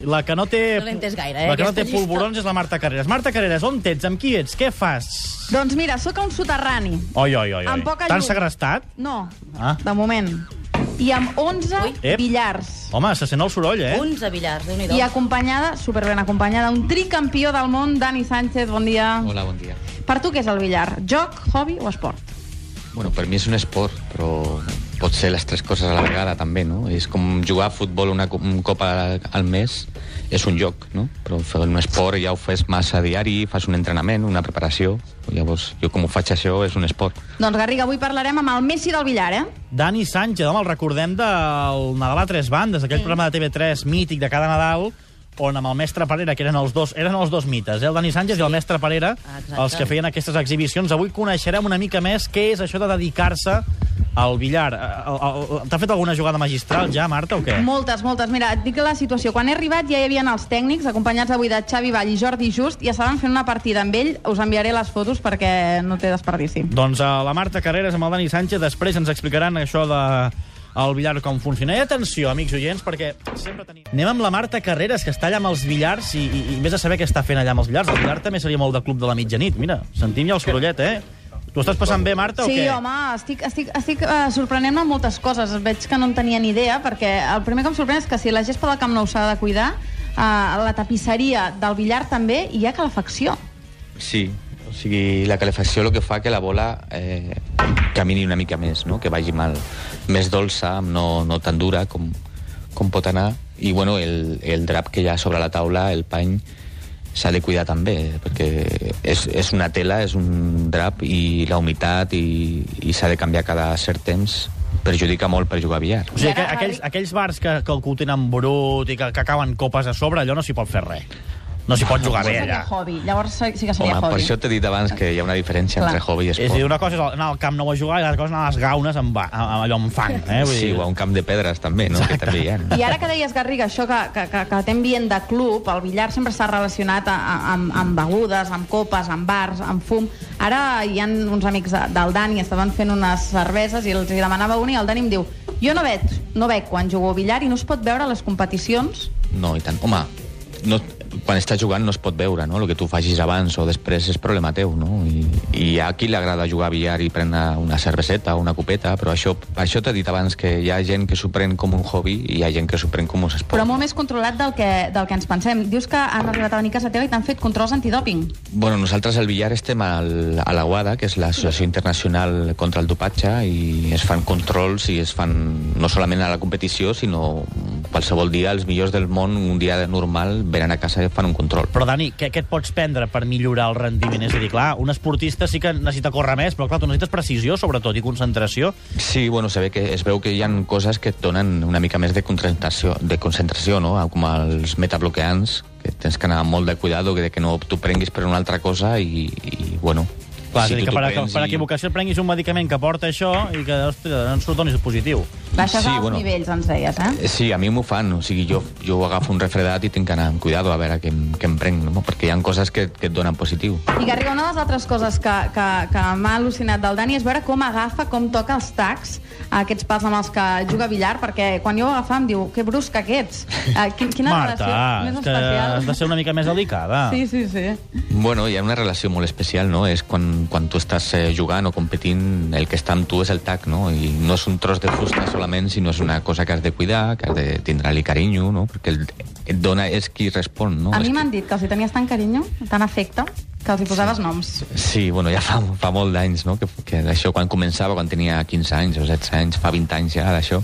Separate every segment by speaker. Speaker 1: La que no té...
Speaker 2: No l'he entès gaire, eh,
Speaker 1: La que no
Speaker 2: aquesta
Speaker 1: té
Speaker 2: llista.
Speaker 1: polvorons és la Marta Carreras. Marta Carreras, on ets? Amb qui ets? Què fas?
Speaker 3: Doncs mira, sóc un soterrani.
Speaker 1: Oi, oi, oi. oi.
Speaker 3: Amb poca
Speaker 1: T'han
Speaker 3: llum.
Speaker 1: segrestat?
Speaker 3: No,
Speaker 1: Ah.
Speaker 3: de moment. I amb 11
Speaker 2: Ui.
Speaker 1: Ep.
Speaker 3: billars.
Speaker 1: Home, se sent el soroll, eh?
Speaker 2: 11 billars, déu nhi
Speaker 3: I acompanyada, superben acompanyada, un tricampió del món, Dani Sánchez, bon dia.
Speaker 4: Hola, bon dia.
Speaker 3: Per tu què és el billar? Joc, hobby o esport?
Speaker 4: Bueno, per mi és un esport, però pot ser les tres coses a la vegada també, no? És com jugar a futbol una, co- un cop al, al mes, és un joc, no? Però fer un esport ja ho fes massa diari, fas un entrenament, una preparació, llavors jo com ho faig això és un esport.
Speaker 3: Doncs Garriga, avui parlarem amb el Messi del billar, eh?
Speaker 1: Dani Sánchez, home, el recordem del Nadal a tres bandes, aquell mm. programa de TV3 mític de cada Nadal, on amb el mestre Parera, que eren els dos, eren els dos mites, eh? el Dani Sánchez sí. i el mestre Parera,
Speaker 2: Exacte.
Speaker 1: els que feien aquestes exhibicions. Avui coneixerem una mica més què és això de dedicar-se al billar. Eh, El- el- el- T'ha fet alguna jugada magistral ja, Marta, o què?
Speaker 3: Moltes, moltes. Mira, et dic la situació. Quan he arribat ja hi havia els tècnics, acompanyats avui de Xavi Vall i Jordi Just, i estaven fent una partida amb ell. Us enviaré les fotos perquè no té desperdici.
Speaker 1: Doncs a la Marta Carreras amb el Dani Sánchez després ens explicaran això de el billar com funciona. I atenció, amics oients, perquè sempre tenim... Anem amb la Marta Carreras, que està allà amb els billars i, i, i més a saber què està fent allà amb els billars. El billar també seria molt de club de la mitjanit. Mira, sentim ja el sorollet, eh? Tu estàs passant bé, Marta, o
Speaker 3: Sí,
Speaker 1: què?
Speaker 3: home, estic, estic, estic uh, sorprenent-me amb moltes coses. Veig que no en tenia ni idea, perquè el primer que em sorprèn és que si la gespa del Camp Nou s'ha de cuidar, uh, la tapisseria del billar també, i hi ha calefacció.
Speaker 4: Sí, o sigui, la calefacció el que fa que la bola eh, camini una mica més, no? que vagi mal, més dolça, no, no tan dura com, com pot anar. I bueno, el, el drap que hi ha sobre la taula, el pany, s'ha de cuidar també, perquè és, és una tela, és un drap, i la humitat i, i s'ha de canviar cada cert temps perjudica molt per jugar a billar.
Speaker 1: O sigui, que aquells, aquells bars que, que el culten en brut i que, que acaben copes a sobre, allò no s'hi pot fer res. No s'hi pot jugar bé,
Speaker 3: Seria
Speaker 1: allà.
Speaker 3: hobby. Llavors sí sí que
Speaker 4: Home,
Speaker 3: seria
Speaker 4: per
Speaker 3: hobby.
Speaker 4: això t'he dit abans que hi ha una diferència
Speaker 3: Clar.
Speaker 4: entre hobby i
Speaker 1: És a dir,
Speaker 4: esport.
Speaker 1: una cosa és anar al camp nou a jugar i l'altra cosa és anar a les gaunes amb, ba- amb allò amb fang, eh? Vull
Speaker 4: Sí,
Speaker 1: dir-
Speaker 4: o a un camp de pedres també, no? que també hi ha.
Speaker 3: I ara que deies, Garriga, això que, que, que, que t'envien de club, el billar sempre s'ha relacionat a, a, amb, amb begudes, amb copes, amb bars, amb fum. Ara hi han uns amics de- del Dani, estaven fent unes cerveses i els hi demanava una i el Dani em diu jo no veig, no veig quan jugo a billar i no es pot veure a les competicions.
Speaker 4: No, i tant. Home, no, quan estàs jugant no es pot veure, no? El que tu facis abans o després és problema teu, no? I, i hi ha qui li agrada jugar a billar i prendre una cerveseta o una copeta, però això, això t'he dit abans, que hi ha gent que s'ho pren com un hobby i hi ha gent que s'ho pren com un esport.
Speaker 3: Però molt més controlat del que, del que ens pensem. Dius que han arribat a venir a casa teva i t'han fet controls antidòping.
Speaker 4: Bueno, nosaltres al billar estem al, a la UADA, que és l'Associació Internacional contra el Dopatge, i es fan controls i es fan no solament a la competició, sinó qualsevol dia, els millors del món, un dia normal, venen a casa i fan un control.
Speaker 1: Però, Dani, què, què et pots prendre per millorar el rendiment? És a dir, clar, un esportista sí que necessita córrer més, però clar, tu necessites precisió, sobretot, i concentració.
Speaker 4: Sí, bueno, se ve que es veu que hi ha coses que et donen una mica més de concentració, de concentració no? Ah, com els metabloqueants, que tens que anar amb molt de cuidado de que no t'ho prenguis per una altra cosa i, i bueno...
Speaker 1: Clar, és a dir,
Speaker 4: tu
Speaker 1: que
Speaker 4: t'ho
Speaker 1: per,
Speaker 4: prens
Speaker 1: per
Speaker 4: i-
Speaker 1: equivocació et prenguis un medicament que porta això i que, ostres, no ens surt donis positiu.
Speaker 3: Baixes
Speaker 4: Sí,
Speaker 3: sí, als bueno.
Speaker 4: bueno.
Speaker 3: nivells, ens deies, eh?
Speaker 4: Sí, a mi m'ho fan, o sigui, jo, jo agafo un refredat i tinc que anar amb cuidado a veure què, em- què em prenc, no? perquè hi ha coses que, que et donen positiu.
Speaker 3: I Garriga, una de les altres coses que, que, que m'ha al·lucinat del Dani és veure com agafa, com toca els tacs, aquests pals amb els que juga a billar, perquè quan jo ho agafava em diu, que brusca que ets. Eh, qui- Quina
Speaker 1: Marta,
Speaker 3: relació
Speaker 1: és
Speaker 3: més
Speaker 1: que has de
Speaker 3: especial.
Speaker 1: ser una mica més delicada.
Speaker 3: Sí, sí, sí.
Speaker 4: Bueno, hi ha una relació molt especial, no? És quan, quan tu estàs eh, jugant o competint, el que està amb tu és el tac, no? I no és un tros de fusta solament, sinó és una cosa que has de cuidar, que has de tindre-li carinyo, no? Perquè el, et dona, és qui respon, no?
Speaker 3: A
Speaker 4: És
Speaker 3: mi
Speaker 4: qui-
Speaker 3: m'han dit que els hi tenies tant carinyo, tant afecte, que els hi posaves noms.
Speaker 4: Sí, bueno, ja fa, fa molt d'anys, no? Que, que això quan començava, quan tenia 15 anys o 16 anys, fa 20 anys ja d'això,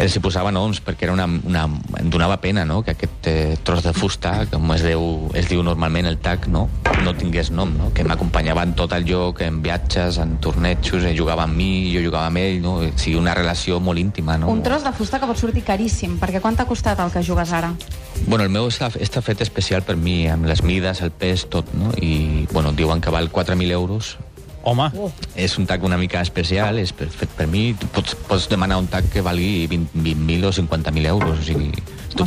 Speaker 4: els hi posava noms perquè era una, una, em donava pena no? que aquest eh, tros de fusta, com es diu, es diu normalment el TAC, no? no tingués nom, no? que m'acompanyava en tot el lloc, en viatges, en tornejos, eh, jugava amb mi, jo jugava amb ell, no? o sigui, una relació molt íntima. No?
Speaker 3: Un tros de fusta que pot sortir caríssim, perquè quant t'ha costat el que jugues ara?
Speaker 4: Bueno, el meu està, està fet especial per mi, amb les mides, el pes, tot, no? i bueno, diuen que val 4.000 euros,
Speaker 1: Home,
Speaker 4: És un tac una mica especial, és per, fet per mi. Tu Pots, pots demanar un tac que valgui 20 20.000 o 50.000 euros, o sigui, Tu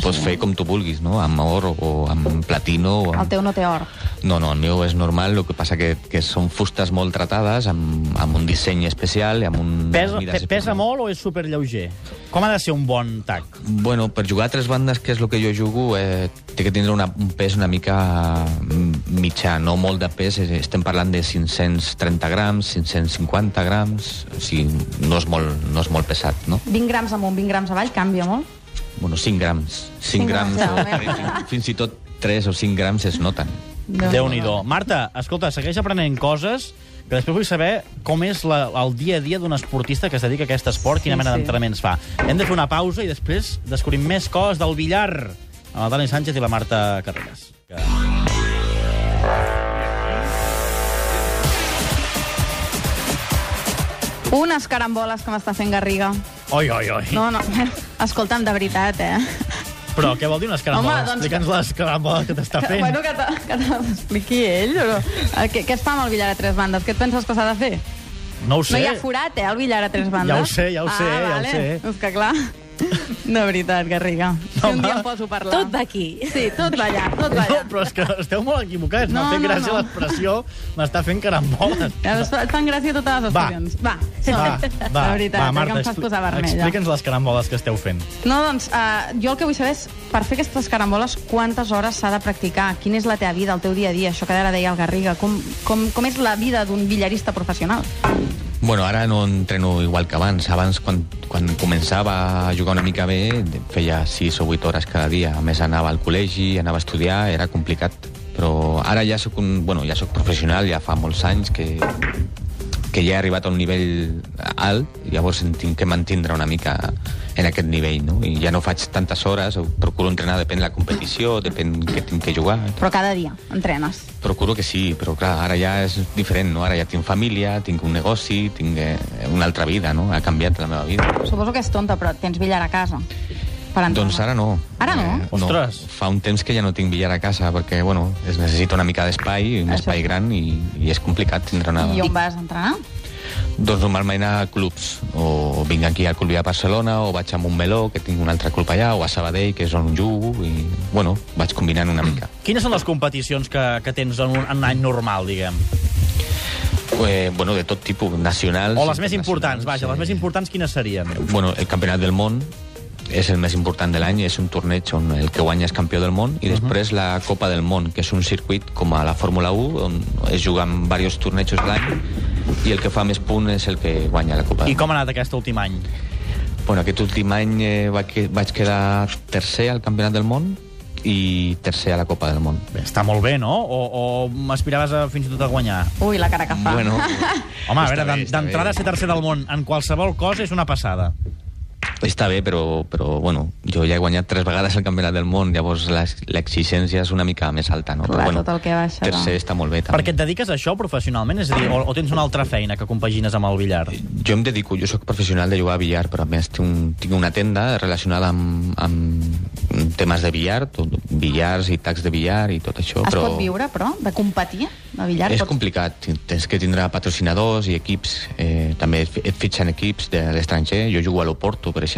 Speaker 3: O
Speaker 4: pots
Speaker 3: sigui,
Speaker 4: fer com tu vulguis, no? Amb or o amb platino o
Speaker 3: El
Speaker 4: amb...
Speaker 3: teu no té or.
Speaker 4: No, no, el meu és normal, el que passa que, que són fustes molt tratades, amb, amb un disseny especial, i amb un...
Speaker 1: Pesa,
Speaker 4: mira,
Speaker 1: pe-
Speaker 4: si
Speaker 1: pesa
Speaker 4: pot-
Speaker 1: molt o és superlleuger? Com ha de ser un bon tac?
Speaker 4: Bueno, per jugar a tres bandes, que és el que jo jugo, eh, té que tindre una, un pes una mica mm, mitjà, no molt de pes, eh, estem parlant de 530 grams, 550 grams, o sigui, no és molt, no és molt pesat, no?
Speaker 3: 20 grams amunt, 20 grams avall, canvia molt.
Speaker 4: Bueno, 5 grams, 5 grams,
Speaker 3: grams,
Speaker 4: o,
Speaker 3: home.
Speaker 4: tres, fins i tot 3 o 5 grams es noten.
Speaker 1: déu nhi Marta, escolta, segueix aprenent coses que després vull saber com és la, el dia a dia d'un esportista que es dedica a aquest esport,
Speaker 3: Sí,
Speaker 1: quina mena
Speaker 3: sí.
Speaker 1: d'entrenaments fa. Hem de fer una pausa i després descobrim més coses del billar amb el Dani Sánchez i la Marta Carreras. Que...
Speaker 3: Unes caramboles que m'està fent Garriga.
Speaker 1: Oi, oi, oi. No.
Speaker 3: No, no, escolta'm, de veritat, eh?
Speaker 1: Però què vol dir unes caramboles?
Speaker 3: Home, doncs-
Speaker 1: Explica'ns les caramboles que t'està fent.
Speaker 3: Bueno, que te, que te l'expliqui ell, però... eh, Què, què es fa amb el billar a tres bandes? Què et penses que s'ha de fer?
Speaker 1: no ho sé.
Speaker 3: No hi ha forat, eh, el billar a tres bandes.
Speaker 1: Ja ho sé, ja ho sé,
Speaker 3: ah,
Speaker 1: ja ho
Speaker 3: vale.
Speaker 1: sé.
Speaker 3: És que clar, de veritat, Garriga. Si un
Speaker 1: Home.
Speaker 3: dia em poso a parlar...
Speaker 2: Tot d'aquí.
Speaker 3: Sí, tot va allà, tot
Speaker 1: No,
Speaker 3: va allà.
Speaker 1: però és que esteu molt equivocats. No,
Speaker 3: No,
Speaker 1: M'ha fet
Speaker 3: no,
Speaker 1: gràcia
Speaker 3: no.
Speaker 1: l'expressió, m'està fent caramboles.
Speaker 3: Ja, es fa- et fan gràcia totes les
Speaker 1: Va.
Speaker 3: expressions. Va,
Speaker 1: Va, va,
Speaker 3: de veritat, eh,
Speaker 1: va,
Speaker 3: que
Speaker 1: Marta,
Speaker 3: em fas
Speaker 1: expli-
Speaker 3: posar vermella.
Speaker 1: explica'ns les caramboles que esteu fent.
Speaker 3: No, doncs, uh, jo el que vull saber és, per fer aquestes caramboles, quantes hores s'ha de practicar? Quina és la teva vida, el teu dia a dia? Això que ara deia el Garriga. Com, com, com és la vida d'un billarista professional?
Speaker 4: Bueno, ara no entreno igual que abans. Abans, quan, quan començava a jugar una mica bé, feia 6 o 8 hores cada dia. A més, anava al col·legi, anava a estudiar, era complicat. Però ara ja sóc, un, bueno, ja sóc professional, ja fa molts anys que, que ja he arribat a un nivell alt, i llavors em tinc que mantindre una mica en aquest nivell, no? I ja no faig tantes hores, o procuro entrenar, depèn de la competició, depèn que tinc que jugar.
Speaker 3: Però cada dia entrenes.
Speaker 4: Procuro que sí, però clar, ara ja és diferent, no? Ara ja tinc família, tinc un negoci, tinc eh, una altra vida, no? Ha canviat la meva vida.
Speaker 3: Suposo que és tonta, però tens billar a casa. Per entrenar.
Speaker 4: Doncs ara no.
Speaker 3: Ara no?
Speaker 1: Ostres.
Speaker 4: Fa un temps que ja no tinc billar a casa, perquè, bueno, es necessita una mica d'espai, un
Speaker 3: Això
Speaker 4: espai
Speaker 3: sí.
Speaker 4: gran, i, i és complicat tindre una...
Speaker 3: I on vas a entrenar?
Speaker 4: Doncs normalment a clubs, o vinc aquí al Club Vila Barcelona, o vaig a Montmeló, que tinc un altre club allà, o a Sabadell, que és on jugo, i, bueno, vaig combinant una mica.
Speaker 1: Quines són les competicions que, que tens en un, en un any normal, diguem?
Speaker 4: Eh, bueno, de tot tipus, nacionals...
Speaker 1: O les més
Speaker 4: internacionals,
Speaker 1: importants, vaja, les
Speaker 4: eh,
Speaker 1: més importants quines serien?
Speaker 4: bueno, el Campionat del Món és el més important de l'any, és un torneig on el que guanya és campió del món i després la Copa del Món, que és un circuit com a la Fórmula 1, on es juguen diversos tornejos a l'any i el que fa més punt és el que guanya la
Speaker 1: I
Speaker 4: Copa del Món.
Speaker 1: com ha anat aquest últim any?
Speaker 4: Bueno, aquest últim any eh, va que- vaig quedar tercer al Campionat del Món i tercer a la Copa del Món.
Speaker 1: Bé, està molt bé, no? O, o aspiraves a, fins i tot a guanyar?
Speaker 3: Ui, la cara que fa.
Speaker 4: Bueno,
Speaker 1: Home, a
Speaker 4: Està
Speaker 1: veure,
Speaker 4: bé,
Speaker 1: d'en-
Speaker 4: està
Speaker 1: d'entrada
Speaker 4: bé.
Speaker 1: ser tercer del món en qualsevol cosa és una passada.
Speaker 4: Està bé, però, però bueno, jo ja he guanyat tres vegades el Campionat del Món, llavors l'ex- l'exigència és una mica més alta, no?
Speaker 3: Clar,
Speaker 4: però, bueno,
Speaker 3: tot el que baixa, va.
Speaker 4: Tercer està molt bé, també.
Speaker 1: Perquè et dediques a això professionalment? És a dir, o, o tens una altra feina que compagines amb el billar?
Speaker 4: Jo em dedico, jo sóc professional de jugar a billar, però a més tinc, un, tinc una tenda relacionada amb, amb temes de billar, tot, billars i tacs de billar i tot això.
Speaker 3: Es
Speaker 4: però
Speaker 3: pot viure, però, de competir, de billar?
Speaker 4: És
Speaker 3: Pots-
Speaker 4: complicat, tens que tindre patrocinadors i equips, eh, també et fi- et fitxen equips de l'estranger. Jo jugo a l'Oporto, per exemple,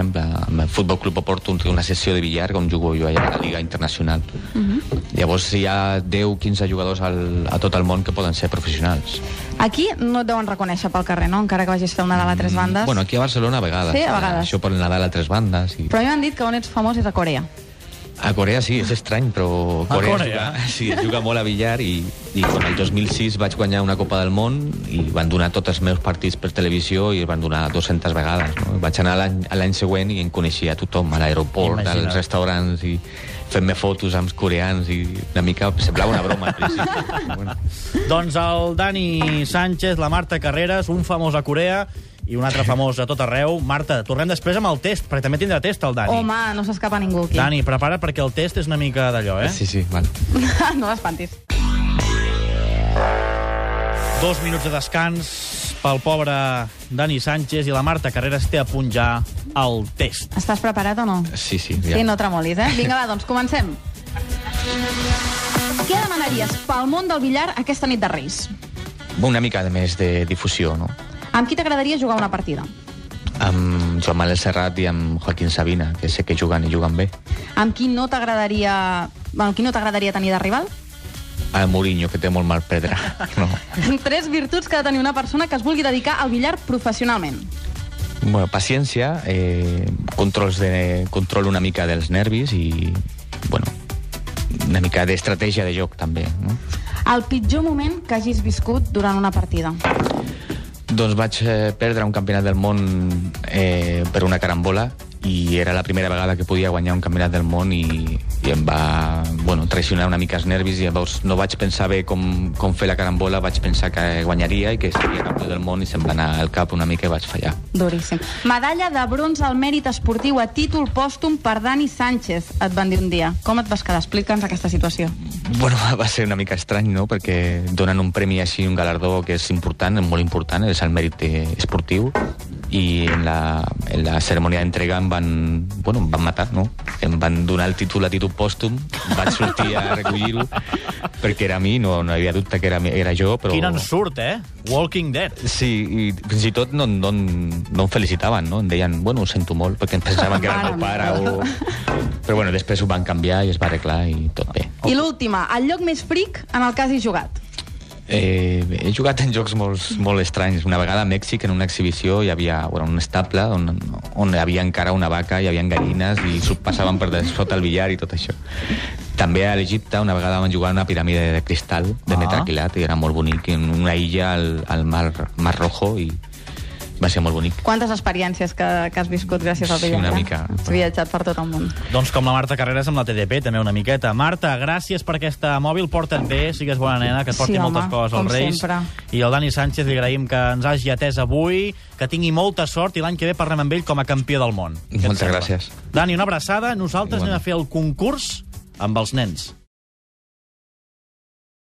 Speaker 4: amb el Futbol Club Oporto, un- una sessió de billar com jugo jo allà a la Liga Internacional.
Speaker 3: Mhm.
Speaker 4: Llavors hi ha 10-15 jugadors al, a tot el món que poden ser professionals.
Speaker 3: Aquí no et deuen reconèixer pel carrer, no? Encara que vagis fer el Nadal a tres bandes.
Speaker 4: Mm, Bueno, aquí a Barcelona a vegades.
Speaker 3: Sí, a vegades.
Speaker 4: Això per el Nadal a tres bandes. I...
Speaker 3: Però a mi m'han dit que on ets famós és a Corea.
Speaker 4: A Corea sí, és estrany, però
Speaker 1: A
Speaker 4: Corea,
Speaker 1: Corea?
Speaker 4: Juga, sí, juga molt a billar i, i quan el 2006 vaig guanyar una Copa del Món i van donar tots els meus partits per televisió i van donar 200 vegades. No? Vaig anar l'any a l'any següent i en coneixia tothom, a l'aeroport,
Speaker 1: Imagina't.
Speaker 4: als restaurants i fent-me fotos amb els coreans i una mica semblava una broma al principi. Però bueno.
Speaker 1: Doncs el Dani Sánchez, la Marta Carreras, un famós a Corea i un altre famós a tot arreu. Marta, tornem després amb el test, perquè també tindrà test
Speaker 4: Ah,
Speaker 1: el Dani.
Speaker 3: Home, no s'escapa ningú aquí.
Speaker 1: Dani, prepara perquè el test és una mica d'allò, eh?
Speaker 4: Sí, sí, val.
Speaker 3: no l'espantis.
Speaker 1: Dos minuts de descans pel pobre Dani Sánchez i la Marta Carreras té a punt ja el test.
Speaker 3: Estàs preparat o no?
Speaker 4: Sí, sí,
Speaker 3: Sí,
Speaker 4: ja.
Speaker 3: no tremolis, eh? Vinga, va, doncs comencem. Què demanaries pel món del billar aquesta nit de Reis?
Speaker 4: Una mica de més de difusió, no?
Speaker 3: Amb qui t'agradaria jugar una partida?
Speaker 4: Amb Joan Manel Serrat i amb Joaquín Sabina, que sé que juguen i juguen bé.
Speaker 3: Amb qui no t'agradaria... Amb qui no t'agradaria tenir de rival?
Speaker 4: A Mourinho, que té molt mal pedra. No.
Speaker 3: Tres virtuts que ha de tenir una persona que es vulgui dedicar al billar professionalment.
Speaker 4: Bueno, paciència, eh, controls de, control una mica dels nervis i, bueno, una mica d'estratègia de joc, també. No?
Speaker 3: El pitjor moment que hagis viscut durant una partida.
Speaker 4: Doncs vaig eh, perdre un campionat del món eh, per una carambola i era la primera vegada que podia guanyar un campionat del món i, i em va bueno, traicionar una mica els nervis i llavors no vaig pensar bé com, com fer la carambola, vaig pensar que guanyaria i que seria campió del món i se'm va anar al cap una mica i vaig fallar.
Speaker 3: Duríssim. Medalla de bronze al mèrit esportiu a títol pòstum per Dani Sánchez, et van dir un dia. Com et vas quedar? Explica'ns aquesta situació.
Speaker 4: Bueno, va ser una mica estrany, no?, perquè donen un premi així, un galardó que és important, molt important, és el mèrit eh, esportiu, i en la, en la cerimònia d'entrega em van, bueno, em van matar, no? Em van donar el títol a títol pòstum, vaig sortir a recollir-ho, perquè era mi, no, no hi havia dubte que era, mi- era jo, però...
Speaker 1: Quin en surt, eh? Walking Dead.
Speaker 4: Sí, i fins i tot no, no, no em felicitaven, no? Em deien, bueno, ho sento molt, perquè em pensaven que era el meu pare o... Però bueno, després ho van canviar i es va arreglar i tot bé.
Speaker 3: I l'última, el lloc més fric en el que hagis jugat.
Speaker 4: Eh, he jugat en jocs molt, molt estranys. Una vegada a Mèxic, en una exhibició, hi havia bueno, un estable on, on hi havia encara una vaca, hi havia gallines i s'ho passaven per sota el billar i tot això. També a l'Egipte una vegada van jugar a una piràmide de cristal de
Speaker 1: Ah.
Speaker 4: metre quilat i era molt bonic, en una illa al, al mar, mar Rojo i va ser molt bonic.
Speaker 3: Quantes experiències que, que has viscut gràcies al
Speaker 4: Sí,
Speaker 3: billar?
Speaker 4: una
Speaker 3: eh?
Speaker 4: mica.
Speaker 3: Has viatjat per tot el món.
Speaker 1: Doncs com la Marta Carreras amb la TDP, també una miqueta. Marta, gràcies per aquesta mòbil, porta't bé, sigues bona nena, que et
Speaker 3: Sí,
Speaker 1: porti
Speaker 3: home,
Speaker 1: moltes coses
Speaker 3: com
Speaker 1: als Reis.
Speaker 3: sempre.
Speaker 1: I al Dani Sánchez li agraïm que ens hagi atès avui, que tingui molta sort i l'any que ve parlem amb ell com a campió del món. Què et
Speaker 4: Moltes
Speaker 1: sembla?
Speaker 4: gràcies.
Speaker 1: Dani, una abraçada. Nosaltres
Speaker 4: Igualment.
Speaker 1: anem a fer el concurs amb els nens.